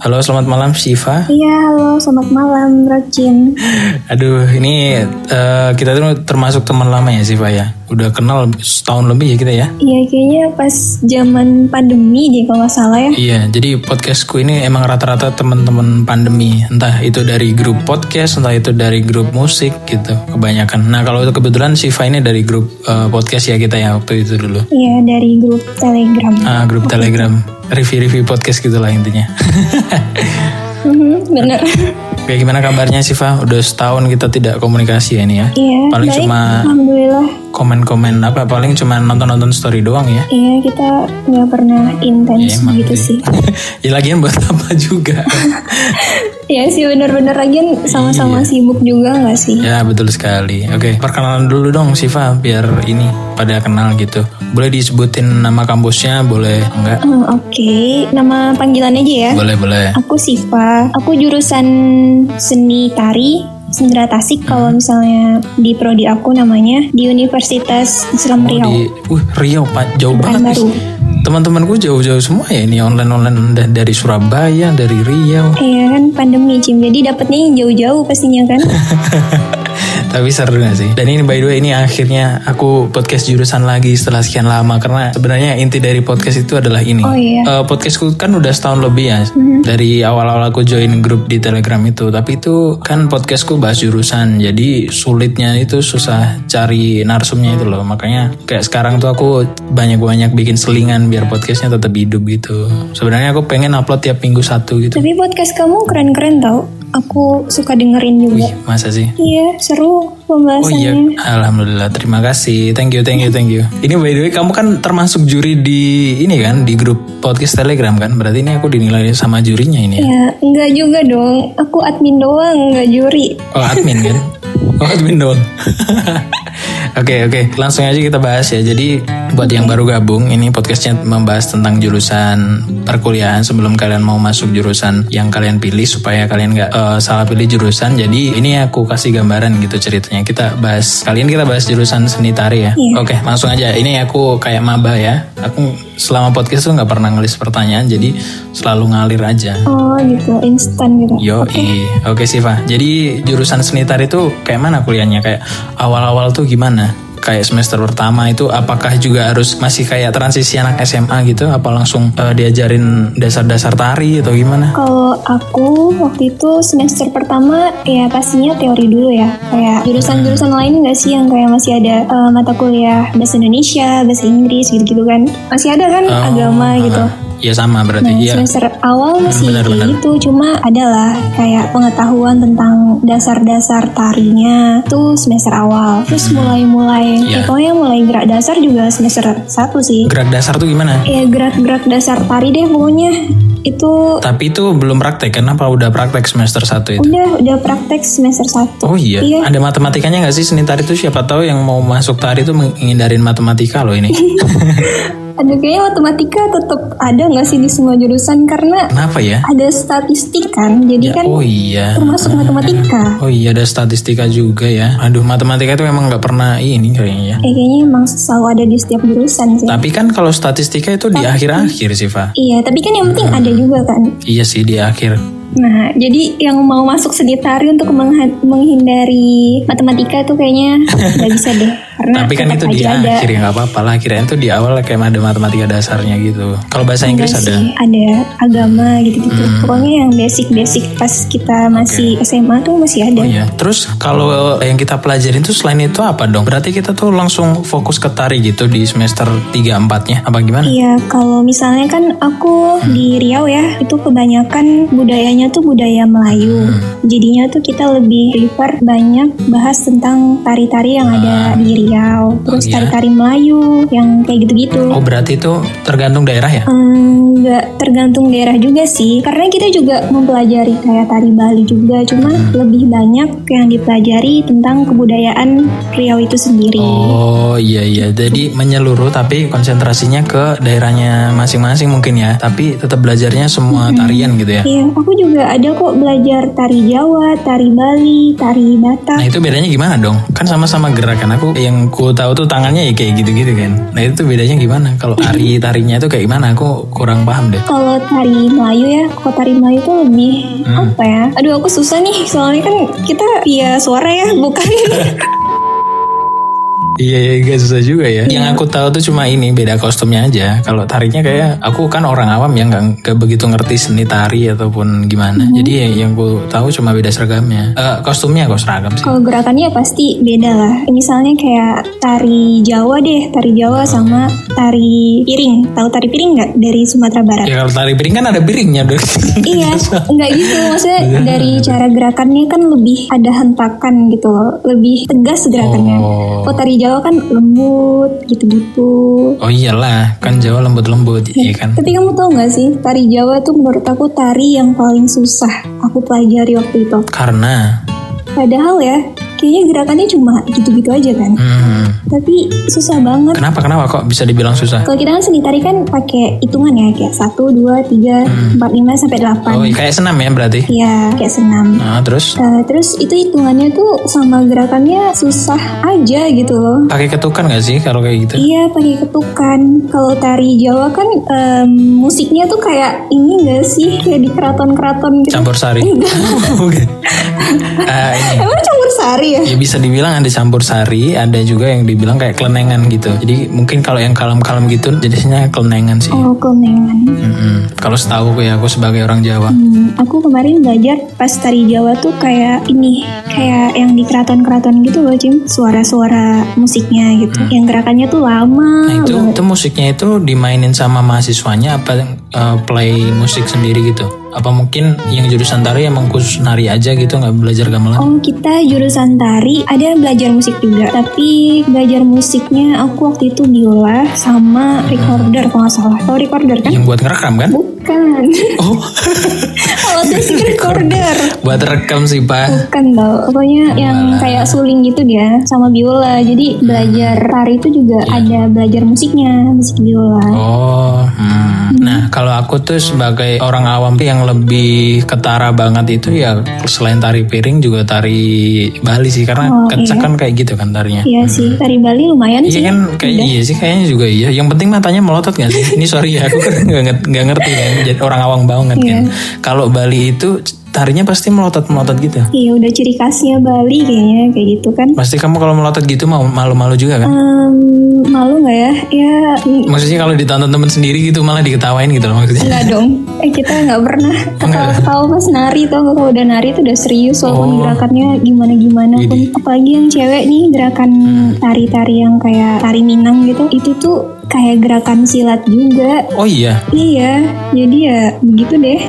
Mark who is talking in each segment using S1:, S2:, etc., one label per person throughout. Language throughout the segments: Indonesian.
S1: Halo, selamat malam Siva.
S2: Iya, halo, selamat malam Rokin.
S1: Aduh, ini eh, kita tuh termasuk teman lama ya Siva ya. Udah kenal setahun lebih ya kita ya.
S2: Iya, kayaknya pas zaman pandemi deh kalau nggak salah ya.
S1: Iya, jadi podcastku ini emang rata-rata teman-teman pandemi. Entah itu dari grup podcast, entah itu dari grup musik gitu, kebanyakan. Nah, kalau itu kebetulan Siva ini dari grup eh, podcast ya kita ya waktu itu dulu.
S2: Iya, dari grup Telegram.
S1: Ah, grup Telegram, review-review podcast gitulah intinya.
S2: Mhm, Bener.
S1: Kayak gimana kabarnya Siva? Udah setahun kita tidak komunikasi ya ini ya.
S2: Iya,
S1: Paling
S2: baik.
S1: cuma
S2: Alhamdulillah.
S1: komen-komen apa paling cuma nonton-nonton story doang ya.
S2: Iya, kita nggak pernah intens
S1: Iya, Emang
S2: gitu
S1: sih.
S2: sih.
S1: ya lagian buat apa juga.
S2: Iya sih, bener-bener lagian
S1: Iya.
S2: sama-sama sibuk juga nggak sih?
S1: ya betul sekali. Oke, perkenalan dulu dong Siva biar ini pada kenal gitu. Boleh disebutin nama kampusnya, boleh enggak?
S2: Hmm, Oke, nama panggilan aja ya.
S1: Boleh, boleh.
S2: Aku Siva, aku jurusan seni tari sendera tasik kalau
S1: Hmm.
S2: misalnya di prodi aku namanya di Universitas Islam Riau.
S1: Di uh, Riau Pak, jauh
S2: Pekanbaru.
S1: banget. nih. Teman-temanku jauh-jauh semua ya ini online-online da- dari Surabaya, dari Riau.
S2: Iya kan pandemi Cim, jadi dapetnya yang jauh-jauh pastinya kan.
S1: Tapi seru gak sih? Dan ini by the way ini akhirnya aku podcast jurusan lagi setelah sekian lama karena sebenarnya inti dari podcast itu adalah ini.
S2: Oh, iya. Mm-hmm.
S1: Eh, podcastku kan udah setahun lebih ya dari awal-awal aku join grup di Telegram itu. Tapi itu kan podcastku bahas jurusan. Jadi sulitnya itu susah cari narsumnya itu loh. Makanya kayak sekarang tuh aku banyak-banyak bikin selingan biar podcastnya tetap hidup gitu. Sebenarnya aku pengen upload tiap minggu satu gitu.
S2: Tapi podcast kamu keren-keren tau, aku suka dengerin juga.
S1: Wih, masa sih?
S2: Iya seru
S1: Oh iya,
S2: pembahasannya.
S1: alhamdulillah. Terima kasih. Thank you, thank you, thank you. Ini by the way, kamu kan termasuk juri di ini kan di grup podcast Telegram kan? Berarti ini aku dinilai sama jurinya ini ya?
S2: Ya enggak juga dong, aku admin doang enggak juri.
S1: Oh admin kan? Oh admin doang. Oke oke, langsung aja kita bahas ya. Jadi buat yang baru gabung, ini podcastnya membahas tentang jurusan perkuliahan sebelum kalian mau masuk jurusan yang kalian pilih supaya kalian nggak eh, salah pilih jurusan. Jadi ini aku kasih gambaran gitu ceritanya. Kita bahas kalian kita bahas jurusan seni tari ya.
S2: Iya.
S1: Oke langsung aja. Ini aku kayak maba ya. Aku selama podcast tuh nggak pernah ngelis pertanyaan, jadi selalu ngalir aja.
S2: Oh gitu, instan gitu.
S1: Yo, oke Siva. Jadi jurusan seni tari itu kayak mana kuliahnya? Kayak awal-awal tuh gimana? Kayak semester pertama itu apakah juga harus masih kayak transisi anak SMA gitu? Apa langsung eh, diajarin dasar-dasar tari atau gimana?
S2: Kalau aku waktu itu semester pertama ya pastinya teori dulu ya kayak jurusan-jurusan lain nggak sih yang kayak masih ada eh, mata kuliah bahasa Indonesia, bahasa Inggris gitu-gitu kan masih ada kan
S1: Oh, ah,
S2: agama gitu.
S1: Ya sama berarti.
S2: Nah,
S1: Iya.
S2: semester awal masih
S1: benar, benar.
S2: kayak gitu, cuma adalah kayak pengetahuan tentang dasar-dasar tarinya tuh semester awal. Terus mulai-mulai,
S1: Iya.
S2: eh, pokoknya mulai gerak dasar juga semester satu sih.
S1: Gerak dasar tuh gimana?
S2: Ya gerak-gerak dasar tari deh pokoknya itu
S1: Tapi itu belum praktek kan? Apa udah praktek semester 1 itu?
S2: Udah, udah praktek semester 1
S1: Oh iya.
S2: Iya.
S1: Ada matematikanya nggak sih seni tari itu? Siapa tahu yang mau masuk tari itu menghindarin matematika loh ini.
S2: Aduh, kayaknya matematika tetap ada nggak sih di semua jurusan? Karena
S1: Kenapa ya?
S2: ada statistik kan, jadi kan
S1: Oh iya.
S2: termasuk matematika.
S1: Oh iya ada statistika juga ya. Aduh matematika itu memang nggak pernah ini kayaknya. ya.
S2: Eh, kayaknya emang selalu ada di setiap jurusan sih.
S1: Tapi kan kalau statistika itu di akhir-akhir sih Fa.
S2: Iya, tapi kan yang penting ada juga kan.
S1: Iya sih di akhir.
S2: Nah, jadi yang mau masuk seni tari untuk mengha- menghindari matematika tuh kayaknya nggak bisa deh, karena
S1: Tapi kan itu
S2: Nah, tetap
S1: di
S2: aja ada.
S1: akhir ya nggak apa-apa lah. Kirain itu di awal kayak ada matematika dasarnya gitu. Kalau bahasa Inggris ada.
S2: Nggak Iya
S1: Hmm.
S2: sih, ada agama gitu-gitu. Pokoknya yang basic-basic pas kita masih SMA tuh masih ada.
S1: Oh iya. Terus kalau yang kita pelajarin tuh selain itu apa dong? Berarti kita tuh langsung fokus ke tari gitu di semester 3-4-nya. Apa gimana?
S2: Iya, kalau misalnya kan aku
S1: Hmm.
S2: di Riau ya, itu kebanyakan budayanya tuh budaya Melayu.
S1: Hmm.
S2: Jadinya tuh kita lebih prefer banyak bahas tentang tari-tari yang ada di Riau,
S1: Ah.
S2: terus
S1: iya.
S2: tari-tari Melayu yang kayak gitu-gitu.
S1: Oh berarti itu tergantung daerah ya?
S2: Hmm, nggak tergantung daerah juga sih karena kita juga mempelajari kayak tari Bali juga cuma
S1: Hmm.
S2: lebih banyak yang dipelajari tentang kebudayaan Riau itu sendiri
S1: Oh iya iya, jadi menyeluruh tapi konsentrasinya ke daerahnya masing-masing mungkin ya. Tapi tetap belajarnya semua tarian gitu ya.
S2: Iya, aku juga juga ada kok belajar tari Jawa, tari Bali, tari Batak.
S1: Nah itu bedanya gimana dong? Kan sama-sama gerakan aku yang ku tahu tuh tangannya ya kayak gitu-gitu kan. Nah itu tuh bedanya gimana? Kalau tari tarinya itu kayak gimana? Aku kurang paham deh.
S2: Kalau tari Melayu ya, kalau tari Melayu tuh lebih
S1: Hmm.
S2: apa ya? Aduh aku susah nih, soalnya kan kita via suara ya, bukan
S1: Iya, iya gak susah juga ya. Yang aku tahu tuh cuma ini beda kostumnya aja. Kalau tarinya kayak aku kan orang awam yang nggak nggak begitu ngerti seni tari ataupun gimana. Jadi ya, yang ku tahu cuma beda seragamnya. Eh, kostumnya kok seragam sih.
S2: Kalau gerakannya ya pasti beda lah. Misalnya kayak tari Jawa deh, tari Jawa
S1: Hmm.
S2: sama tari piring. Tahu tari piring nggak dari Sumatera Barat?
S1: Ya kalau tari piring kan ada piringnya dong.
S2: iya, nggak gitu. Maksudnya
S1: Iya.
S2: dari cara gerakannya kan lebih ada hentakan gitu loh, lebih tegas gerakannya.
S1: Oh.
S2: Kalau tari Jawa kan lembut gitu-gitu.
S1: Oh iyalah, kan Jawa lembut-lembut, iya kan?
S2: Nah, Tapi kamu tahu nggak sih, tari Jawa tuh menurut aku tari yang paling susah aku pelajari waktu itu.
S1: Karena,
S2: Padahal ya, kayaknya gerakannya cuma gitu-gitu aja kan.
S1: hmm,
S2: Tapi susah banget.
S1: kenapa kenapa kok bisa dibilang susah?
S2: Kalau kita kan seni tari kan pakai hitungan ya kayak 1, 2, 3, 4, 5 sampai 8.
S1: Hmm. Oh kayak senam ya berarti?
S2: Ya, kayak senam.
S1: Nah, terus
S2: Eh, terus itu hitungannya tuh sama gerakannya susah aja gitu loh.
S1: pakai ketukan nggak sih kalau kayak gitu?
S2: Iya pakai ketukan. Kalau tari Jawa kan em, musiknya tuh kayak ini gak sih kayak di keraton-keraton gitu.
S1: Campur sari. Oke. Ah, ini.
S2: Emang campur sari ya?
S1: Ya bisa dibilang ada campur sari, ada juga yang dibilang kayak kelenengan gitu. Jadi mungkin kalau yang kalem-kalem gitu jenisnya kelenengan sih.
S2: Oh kelengan.
S1: Mm-mm. Kalau setahu aku ya aku sebagai orang Jawa.
S2: Hmm, aku kemarin belajar pas tari Jawa tuh kayak ini, kayak yang di keraton-keraton gitu loh, Cim. Suara-suara musiknya gitu. Yang gerakannya tuh lama.
S1: Hmm. Nah itu
S2: banget.
S1: itu musiknya itu dimainin sama mahasiswanya apa eh, play musik sendiri gitu? Apa mungkin yang jurusan tari emang khusus nari aja gitu nggak belajar gamelan?
S2: Oh, kita jurusan tari ada belajar musik juga, tapi belajar musiknya aku waktu itu biola sama recorder kalau nggak salah. Tahu recorder kan?
S1: Yang buat ngerekam kan?
S2: Bukan.
S1: Oh
S2: Kalau saya sih recorder.
S1: buat rekam sih pak.
S2: Bukan tau. Kan, Pokoknya
S1: Iya.
S2: yang kayak suling gitu dia sama biola.
S1: Hmm.
S2: Jadi belajar tari itu juga
S1: Iya.
S2: ada belajar musiknya, musik biola.
S1: Oh, hmm. nah kalau aku tuh sebagai orang awam tuh yang lebih ketara banget itu ya selain tari piring juga tari Bali sih karena
S2: Oh,
S1: kecak
S2: iya.
S1: kan kayak gitu kan tarinya.
S2: Iya sih, tari Bali lumayan
S1: Iya
S2: sih.
S1: kan kayaknya iya sih kayaknya juga iya. Yang penting matanya melotot gak sih? Ini sorry ya aku kan nggak nget- nggak ngerti kan. Jadi orang awam banget kan. Kalau Bali itu tarinya pasti melotot melotot gitu.
S2: Iya, udah ciri khasnya Bali kayaknya kayak gitu kan.
S1: Pasti kamu kalau melotot gitu mau malu-malu juga kan?
S2: Em, malu nggak ya? Ya mm,
S1: Maksudnya kalau ditonton temen sendiri gitu malah diketawain gitu loh maksudnya.
S2: nggak dong. Eh kita nggak pernah
S1: Oh,
S2: ketawa-ketawa pas nari tuh kalau udah nari tuh udah serius
S1: Oh.
S2: walaupun gerakannya gimana-gimana pun. Apalagi yang cewek nih gerakan
S1: Hmm.
S2: tari-tari yang kayak tari Minang gitu, itu tuh kayak gerakan silat juga.
S1: Oh iya,
S2: Iya, jadi ya begitu deh.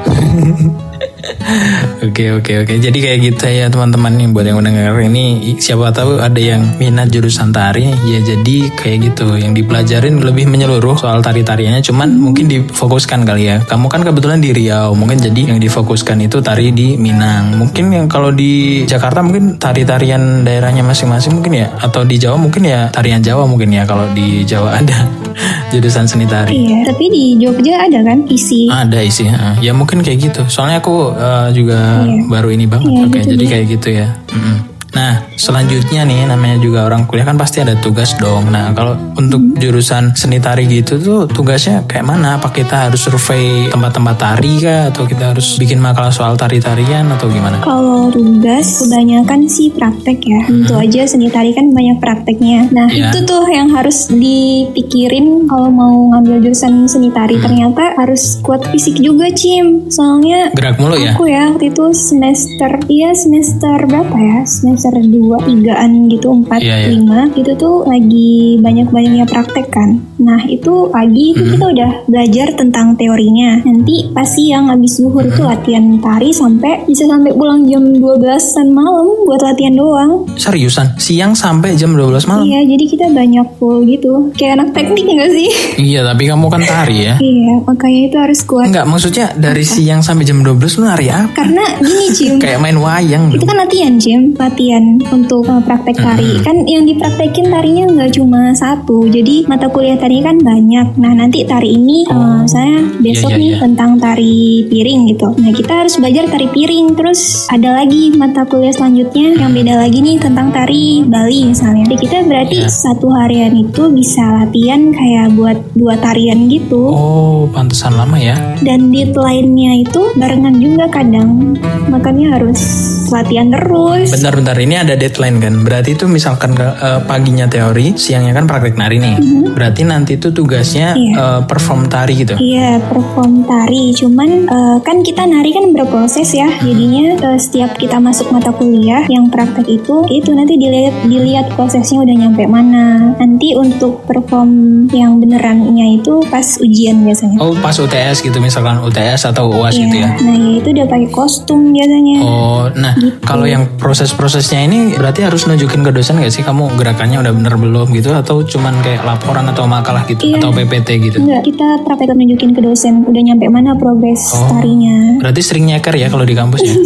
S1: Oke oke oke. Jadi kayak gitu ya teman-teman nih buat yang mendengar ini siapa tahu ada yang minat jurusan tari ya jadi kayak gitu yang dipelajarin lebih menyeluruh soal tari tariannya cuman mungkin difokuskan kali ya. Kamu kan kebetulan di Riau mungkin jadi yang difokuskan itu tari di Minang. Mungkin yang kalau di Jakarta mungkin tari tarian daerahnya masing-masing mungkin ya atau di Jawa mungkin ya tarian Jawa mungkin ya kalau di Jawa ada jurusan seni tari.
S2: Iya, tapi di Jogja ada kan isi.
S1: Ada isi, ha. ya mungkin kayak gitu. Soalnya aku eh, juga
S2: Iya.
S1: baru ini banget, oke. jadi kayak gitu ya. Mm-mm. Nah, selanjutnya nih namanya juga orang kuliah kan pasti ada tugas dong. Nah, kalau
S2: Hmm.
S1: untuk jurusan seni tari gitu tuh tugasnya kayak mana? Apa kita harus survei tempat-tempat tari kah? Atau kita harus bikin makalah soal tari-tarian atau gimana?
S2: Kalau tugas kebanyakan sih praktek ya. Tentu aja seni tari kan banyak prakteknya. Nah,
S1: Iya.
S2: itu tuh yang harus dipikirin kalau mau ngambil jurusan seni tari. Ternyata harus kuat fisik juga, Cim. Soalnya
S1: Gerak mulu ya?
S2: aku ya waktu itu semester iya semester berapa ya? Semester 2, 3-an gitu, 4,
S1: Iya, iya.
S2: 5. Itu tuh lagi banyak-banyaknya praktek kan. Nah, itu pagi
S1: Mm-hmm.
S2: itu kita udah belajar tentang teorinya. Nanti pas siang habis zuhur
S1: Mm-hmm.
S2: itu latihan tari sampai bisa sampai pulang jam 12-an malam buat latihan doang.
S1: Seriusan, siang sampai jam 12 malam?
S2: Iya, jadi kita banyak full gitu. Kayak anak teknik gak sih?
S1: Iya, tapi kamu kan tari ya?
S2: iya, makanya itu harus kuat.
S1: Enggak, maksudnya dari siang sampai jam 12 lu nari apa?
S2: Karena gini, Jim.
S1: Kayak main wayang.
S2: Itu kan latihan, Jim. Latihan
S1: Mm-hmm.
S2: untuk uh, praktek tari. Kan yang dipraktekin tarinya nggak cuma satu. Jadi mata kuliah tadi tari kan banyak. Nah nanti tari ini eh,
S1: Oh.
S2: misalnya besok
S1: Iya, iya,
S2: nih
S1: iya.
S2: tentang tari piring gitu. Nah kita harus belajar tari piring. Terus ada lagi mata kuliah selanjutnya yang beda lagi nih tentang tari Bali misalnya. Jadi kita berarti
S1: Iya.
S2: satu harian itu bisa latihan kayak buat dua tarian gitu.
S1: Oh, pantesan lama ya.
S2: Dan deadline-nya itu barengan juga kadang. Makanya harus latihan terus.
S1: Bentar-bentar, ini ada deadline kan? Berarti itu misalkan eh, paginya teori, siangnya kan praktek nari nih. Berarti nanti itu tugasnya
S2: Mm-hmm. Iya.
S1: eh, perform tari gitu.
S2: Iya, perform tari. Cuman eh, kan kita nari kan berproses ya. Jadinya eh, setiap kita masuk mata kuliah yang praktek itu, itu nanti dilihat dilihat prosesnya udah nyampe mana. Nanti untuk perform yang benerannya itu pas ujian biasanya.
S1: Oh, pas UTS gitu, misalkan UTS atau UAS gitu ya.
S2: Nah, ya itu udah pakai kostum biasanya.
S1: Oh, nah
S2: Gitu.
S1: kalau yang proses-prosesnya ini berarti harus nunjukin ke dosen gak sih kamu gerakannya udah bener belum gitu atau cuman kayak laporan atau makalah gitu
S2: Iya.
S1: atau PPT gitu.
S2: Enggak, kita praktek nunjukin ke dosen udah nyampe mana progres
S1: Oh.
S2: tarinya.
S1: Berarti sering nyeker ya kalau di kampus ya.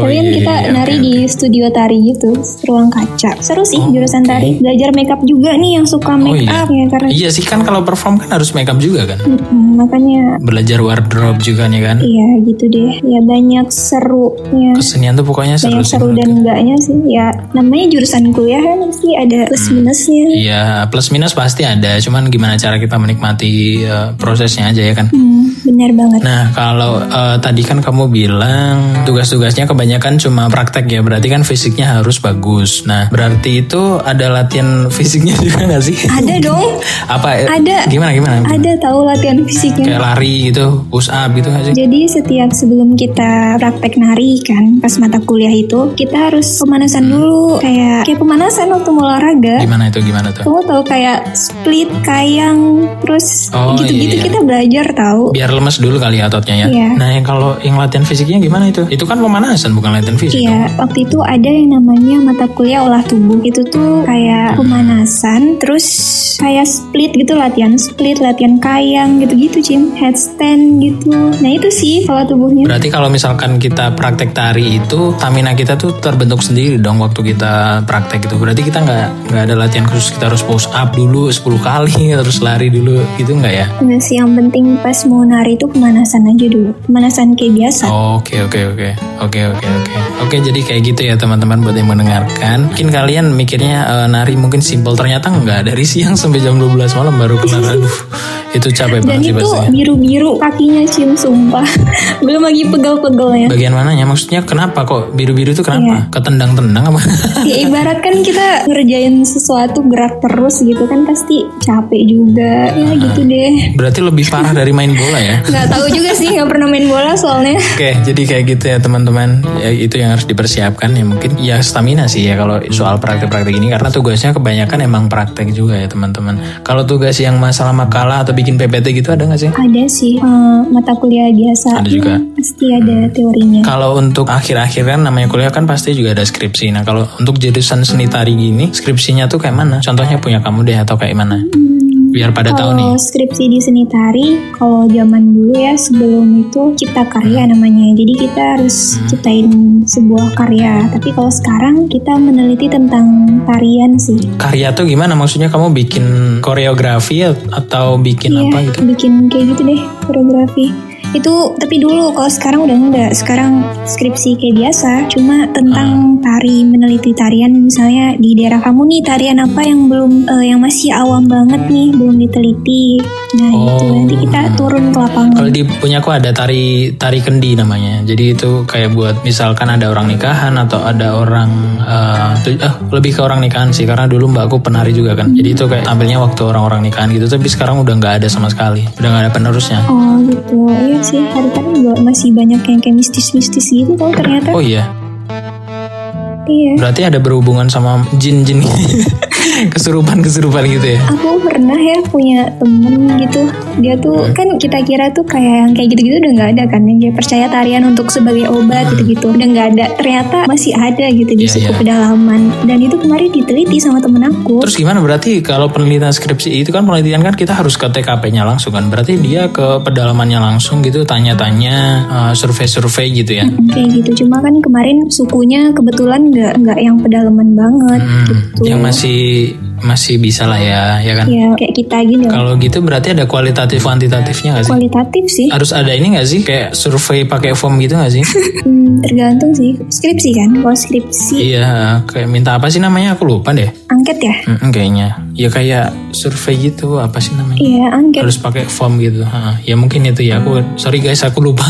S1: Oh,
S2: Tapi kan
S1: iya,
S2: kita
S1: iya,
S2: nari
S1: oke,
S2: di studio tari gitu, ruang kaca. Seru sih jurusan tari. Belajar makeup juga nih yang
S1: Oh,
S2: suka make
S1: iya.
S2: up ya
S1: oke.
S2: karena
S1: Iya sih kan kalau perform kan harus makeup juga kan.
S2: Mm-mm, makanya
S1: Belajar wardrobe juga nih kan.
S2: iya gitu deh. Ya banyak serunya.
S1: Kesenian tuh pokoknya seru
S2: Banyak
S1: sih.
S2: seru
S1: menurut-
S2: dan enggaknya sih ya namanya jurusan kuliah kan pasti ada plus minusnya
S1: Hmm. Iya, plus minus pasti ada. Cuman gimana cara kita menikmati eh, prosesnya aja ya kan.
S2: hmm, benar banget
S1: Nah, kalau eh, tadi kan kamu bilang tugas-tugasnya kebanyakan cuma praktek ya, berarti kan fisiknya harus bagus. Nah, berarti itu ada latihan fisiknya juga nggak sih?
S2: ada dong
S1: Apa? eh,
S2: Ada.
S1: Gimana gimana?
S2: ada tahu latihan fisiknya
S1: Kayak lari gitu, push up gitu nggak sih?
S2: Jadi setiap sebelum kita praktek nari kan pas mata kuliah itu kita harus pemanasan dulu kayak kayak pemanasan waktu mau olahraga.
S1: Hmm. Gimana itu gimana tuh?
S2: Kamu tahu kayak split, kayang, terus
S1: Oh, iya,
S2: gitu-gitu
S1: iya.
S2: kita belajar tahu.
S1: Biar lemes dulu kali ototnya ya.
S2: Iya.
S1: Nah, yang kalau yang latihan fisiknya gimana itu? Itu kan pemanasan bukan latihan fisik.
S2: Iya, waktu itu ada yang namanya mata kuliah olah tubuh. Itu tuh kayak pemanasan, terus kayak split gitu latihan split, latihan kayang gitu-gitu, Cim. Headstand gitu. Nah, itu sih kalau tubuhnya.
S1: Berarti kalau misalkan kita praktek tari itu, stamina kita tuh terbentuk sendiri dong waktu kita praktek itu. Berarti kita nggak nggak ada latihan khusus kita harus push up dulu 10 kali, terus lari dulu gitu nggak ya?
S2: Nah, sih yang penting pas mau nari itu pemanasan aja dulu. Pemanasan kayak biasa.
S1: Oh, Oke oke oke oke oke oke oke jadi kayak gitu ya teman-teman buat yang mendengarkan mungkin kalian mikirnya eh, nari mungkin simple ternyata nggak dari siang sampai jam 12 malam baru kelar aduh itu capek
S2: Dan
S1: banget sih
S2: itu
S1: pastinya
S2: biru-biru kakinya Cim, sumpah. Belum lagi ya. pegel-pegelnya.
S1: bagian mananya maksudnya kenapa kok biru-biru itu kenapa ketendang-tendang apa
S2: Ya ibarat kan kita ngerjain sesuatu gerak terus gitu kan pasti capek juga. Ya gitu deh.
S1: berarti lebih parah dari main bola ya
S2: nggak tahu juga sih nggak pernah main bola soalnya
S1: Oke, jadi kayak gitu ya teman-teman. Ya, itu yang harus dipersiapkan ya mungkin ya stamina sih ya kalau soal praktek-praktek ini karena tugasnya kebanyakan emang praktek juga ya teman-teman. Kalau tugas yang masalah makalah atau bikin PPT gitu ada nggak sih?
S2: ada sih eh, mata kuliah biasa
S1: Ada juga.
S2: pasti ada teorinya
S1: Kalau untuk akhir-akhir kan namanya kuliah kan pasti juga ada skripsi. Nah kalau untuk jurusan seni tari gini skripsinya tuh kayak mana? Contohnya punya kamu deh atau kayak mana? Biar pada tahu nih.
S2: kalau skripsi di seni tari kalau zaman dulu ya sebelum itu cipta karya
S1: Hmm.
S2: namanya jadi kita harus ciptain sebuah karya tapi kalau sekarang kita meneliti tentang tarian sih
S1: Karya tuh gimana? Maksudnya kamu bikin koreografi atau bikin
S2: Iya,
S1: apa gitu?
S2: bikin kayak gitu deh koreografi itu tapi dulu kalau sekarang udah enggak sekarang skripsi kayak biasa
S1: Ah.
S2: cuma tentang tari meneliti tarian misalnya di daerah kamu nih tarian apa yang belum eh, yang masih awam banget nih belum diteliti nah itu
S1: Hmm. Oh.
S2: nanti kita turun ke lapangan
S1: Kalau di punya aku ada tari tari kendi namanya. Jadi itu kayak buat misalkan ada orang nikahan atau ada orang eh, tu- eh, lebih ke orang nikahan sih karena dulu mbakku penari juga kan. Jadi itu kayak tampilnya waktu orang-orang nikahan gitu tapi sekarang udah nggak ada sama sekali. Udah nggak ada penerusnya.
S2: oh gitu iya sih tarian juga masih banyak yang kayak mistis-mistis gitu kalau ternyata
S1: Oh iya,
S2: iya
S1: berarti ada berhubungan sama jin-jin kesurupan-kesurupan gitu ya.
S2: Aku pernah ya punya temen gitu Dia tuh kan kita kira tuh kayak yang kayak gitu-gitu udah nggak ada kan Yang dia percaya tarian untuk sebagai obat gitu-gitu Udah nggak ada Ternyata masih ada gitu di
S1: Iya,
S2: suku
S1: iya.
S2: pedalaman Dan itu kemarin diteliti sama temen aku
S1: Terus gimana berarti kalau penelitian skripsi itu kan penelitian kan kita harus ke TKP-nya langsung kan. Berarti dia ke pedalamannya langsung gitu tanya-tanya eh, survei-survei gitu ya.
S2: Kayak gitu Cuma kan kemarin sukunya kebetulan nggak nggak yang pedalaman banget
S1: Hmm,
S2: gitu
S1: yang masih masih bisa lah ya, ya kan?
S2: ya kayak kita gini lah.
S1: Kalau gitu berarti ada kualitatif kuantitatifnya nggak sih? Ah.
S2: kualitatif sih
S1: Harus ada ini nggak sih? Kayak survei pakai form gitu nggak sih?
S2: Hmm, tergantung sih skripsi kan kalau skripsi
S1: iya, kayak minta apa sih namanya? Aku lupa deh.
S2: angket ya
S1: Mm-mm, kayaknya. Ya kayak survei gitu apa sih namanya?
S2: iya angket
S1: Harus pakai form gitu. Ha, ya mungkin itu ya. Aku sorry guys, aku lupa.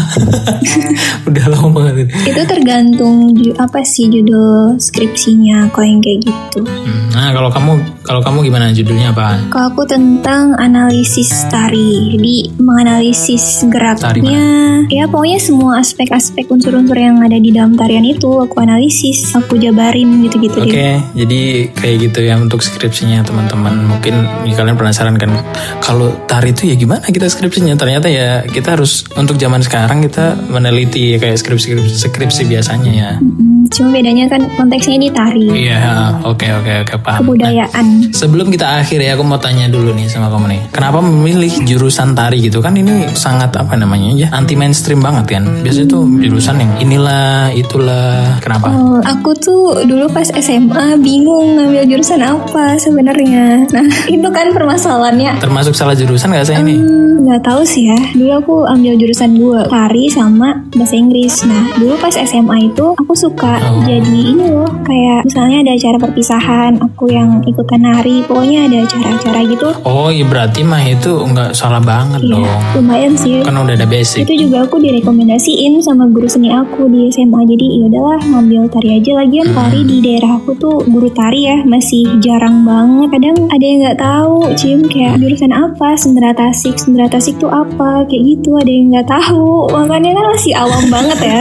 S1: Udah lama banget.
S2: itu tergantung ju- apa sih judul skripsinya kalau yang kayak gitu
S1: Hmm, Nah, kalau kamu kalau kamu gimana judulnya apa?
S2: kalau aku tentang analisis tari jadi menganalisis geraknya ya pokoknya semua aspek-aspek unsur-unsur yang ada di dalam tarian itu aku analisis aku jabarin gitu-gitu
S1: Oke,
S2: deh
S1: jadi kayak gitu ya untuk skripsinya teman-teman. Mungkin ya, kalian penasaran kan kalau tari itu ya gimana kita skripsinya? Ternyata ya kita harus untuk zaman sekarang kita meneliti ya, kayak skripsi skripsi, skripsi biasanya ya.
S2: Mm-mm. cuma bedanya kan konteksnya di tari
S1: Iya, oke oke oke paham. Nah,
S2: kebudayaan
S1: Sebelum kita akhir ya, aku mau tanya dulu nih sama kamu nih. Kenapa memilih jurusan tari gitu kan? Ini sangat apa namanya ya? Anti mainstream banget kan? Biasanya tuh jurusan yang inilah, itulah. Kenapa?
S2: Oh, aku tuh dulu pas SMA bingung ngambil jurusan apa sebenarnya. Nah, itu kan permasalahannya.
S1: Termasuk salah jurusan gak saya ini?
S2: Hmm, nggak tahu sih ya. Dulu aku ambil jurusan dua tari sama bahasa Inggris. Nah, dulu pas SMA itu aku suka
S1: Oh.
S2: jadi ini loh kayak misalnya ada acara perpisahan, aku yang ikutan nari. Pokoknya ada acara-acara gitu.
S1: Oh iya berarti mah itu nggak salah banget
S2: Iya,
S1: dong
S2: lumayan sih.
S1: Kan udah ada basic
S2: Itu juga aku direkomendasiin sama guru seni aku di SMA. Jadi ya udahlah ngambil tari aja lagian tari di daerah aku tuh guru tari ya masih jarang banget. Kadang ada yang nggak tahu, Cim kayak jurusan apa, sendera tasik, sendera tasik tuh apa, kayak gitu ada yang nggak tahu. Makanya kan masih awam banget ya.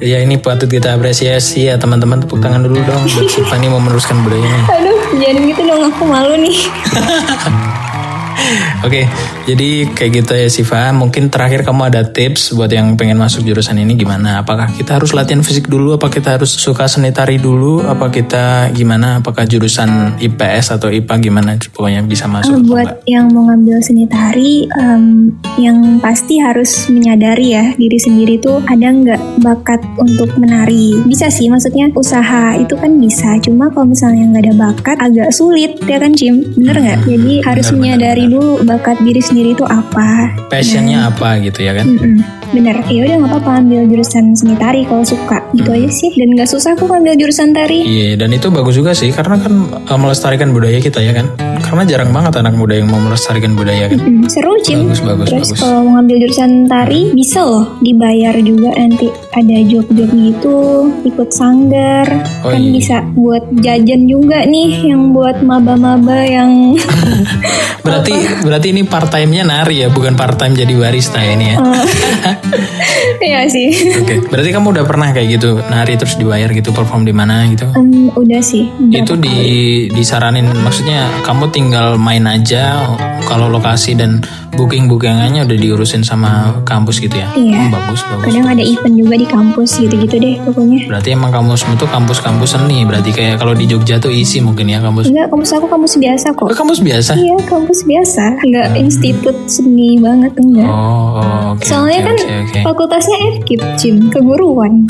S1: Ya ini patut kita apresiasi ya teman-teman Tepuk tangan dulu dong Buat Tiffany mau meneruskan budayanya
S2: Aduh, jangan gitu dong aku malu nih.
S1: Oke jadi kayak gitu ya Siva Mungkin terakhir kamu ada tips Buat yang pengen masuk jurusan ini gimana Apakah kita harus latihan fisik dulu Apa kita harus suka seni tari dulu Apa kita gimana Apakah jurusan IPS atau IPA gimana Pokoknya bisa masuk
S2: Eh,
S1: atau
S2: buat yang mau ngambil seni tari em, yang pasti harus menyadari ya diri sendiri tuh ada nggak bakat untuk menari bisa sih maksudnya usaha itu kan bisa cuma kalau misalnya nggak ada bakat agak sulit ya kan Jim bener nggak jadi harus
S1: bener,
S2: menyadari dulu bakat diri sendiri itu apa
S1: enggak. Passionnya apa gitu ya kan
S2: iya. Mm-mm, bener ya udah nggak apa-apa ambil jurusan seni tari kalau suka gitu aja sih dan nggak susah kok ambil jurusan tari
S1: Iya, dan itu bagus juga sih karena kan eh, melestarikan budaya kita ya kan. Karena jarang banget anak muda yang mau melestarikan budaya kan.
S2: Mm, seru Jim
S1: Bagus bagus
S2: Terus
S1: bagus. Hmm.
S2: kalau mau ngambil jurusan tari bisa loh dibayar juga nanti ada job-job gitu ikut sanggar
S1: Oh,
S2: kan
S1: iya.
S2: bisa buat jajan juga nih yang buat maba-maba yang
S1: Berarti berarti ini part time-nya nari ya, bukan part time jadi barista ya ini ya.
S2: ya sih
S1: Oke. Berarti kamu udah pernah kayak gitu nari terus dibayar gitu perform di mana gitu.
S2: Em, udah sih
S1: Itu di disaranin maksudnya kamu tinggal main aja kalau lokasi dan booking bookingannya udah diurusin sama kampus gitu ya. Hmm,
S2: Iya.
S1: Bagus bagus.
S2: kadang ada event juga di kampus gitu-gitu deh pokoknya
S1: Berarti emang kampusmu tuh kampus-kampus seni. Berarti kayak kalau di Jogja tuh isi mungkin ya kampus.
S2: enggak kampus aku kampus biasa
S1: Oh,
S2: kok
S1: kampus biasa.
S2: iya kampus biasa enggak institut seni banget enggak
S1: Hmm. Oh, oh, oke.
S2: soalnya
S1: oke,
S2: kan
S1: oke, oke.
S2: fakultasnya FKIP Jim keguruan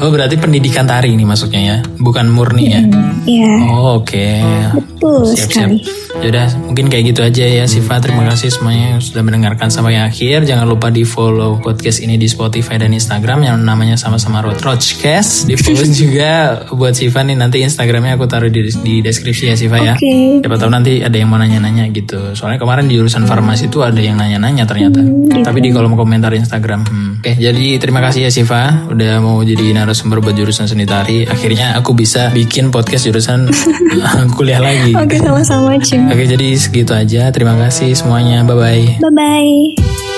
S1: Oh, berarti pendidikan tari ini maksudnya ya, bukan murni ya.
S2: ya
S1: Oh, oke.
S2: betul
S1: Siap-siap.
S2: sekali
S1: Yaudah, Ya mungkin kayak gitu aja ya Siva. Terima kasih semuanya yang sudah mendengarkan sampai akhir. Jangan lupa di follow podcast ini di Spotify dan Instagram yang namanya sama-sama Road Roadcast. Di follow juga buat Siva nih nanti Instagramnya aku taruh di, di deskripsi ya Siva ya.
S2: Oke,
S1: Siapa tahu nanti ada yang mau nanya-nanya gitu. Soalnya kemarin di jurusan farmasi itu ada yang nanya-nanya ternyata.
S2: Hmm, gitu.
S1: Tapi di kolom komentar Instagram. Hmm. Oke, jadi terima kasih ya Siva udah mau jadi narasumber buat jurusan seni tari. Akhirnya aku bisa bikin podcast jurusan kuliah lagi.
S2: oke sama-sama Cim.
S1: Oke, jadi segitu aja. Terima kasih semuanya. Bye bye.
S2: Bye bye.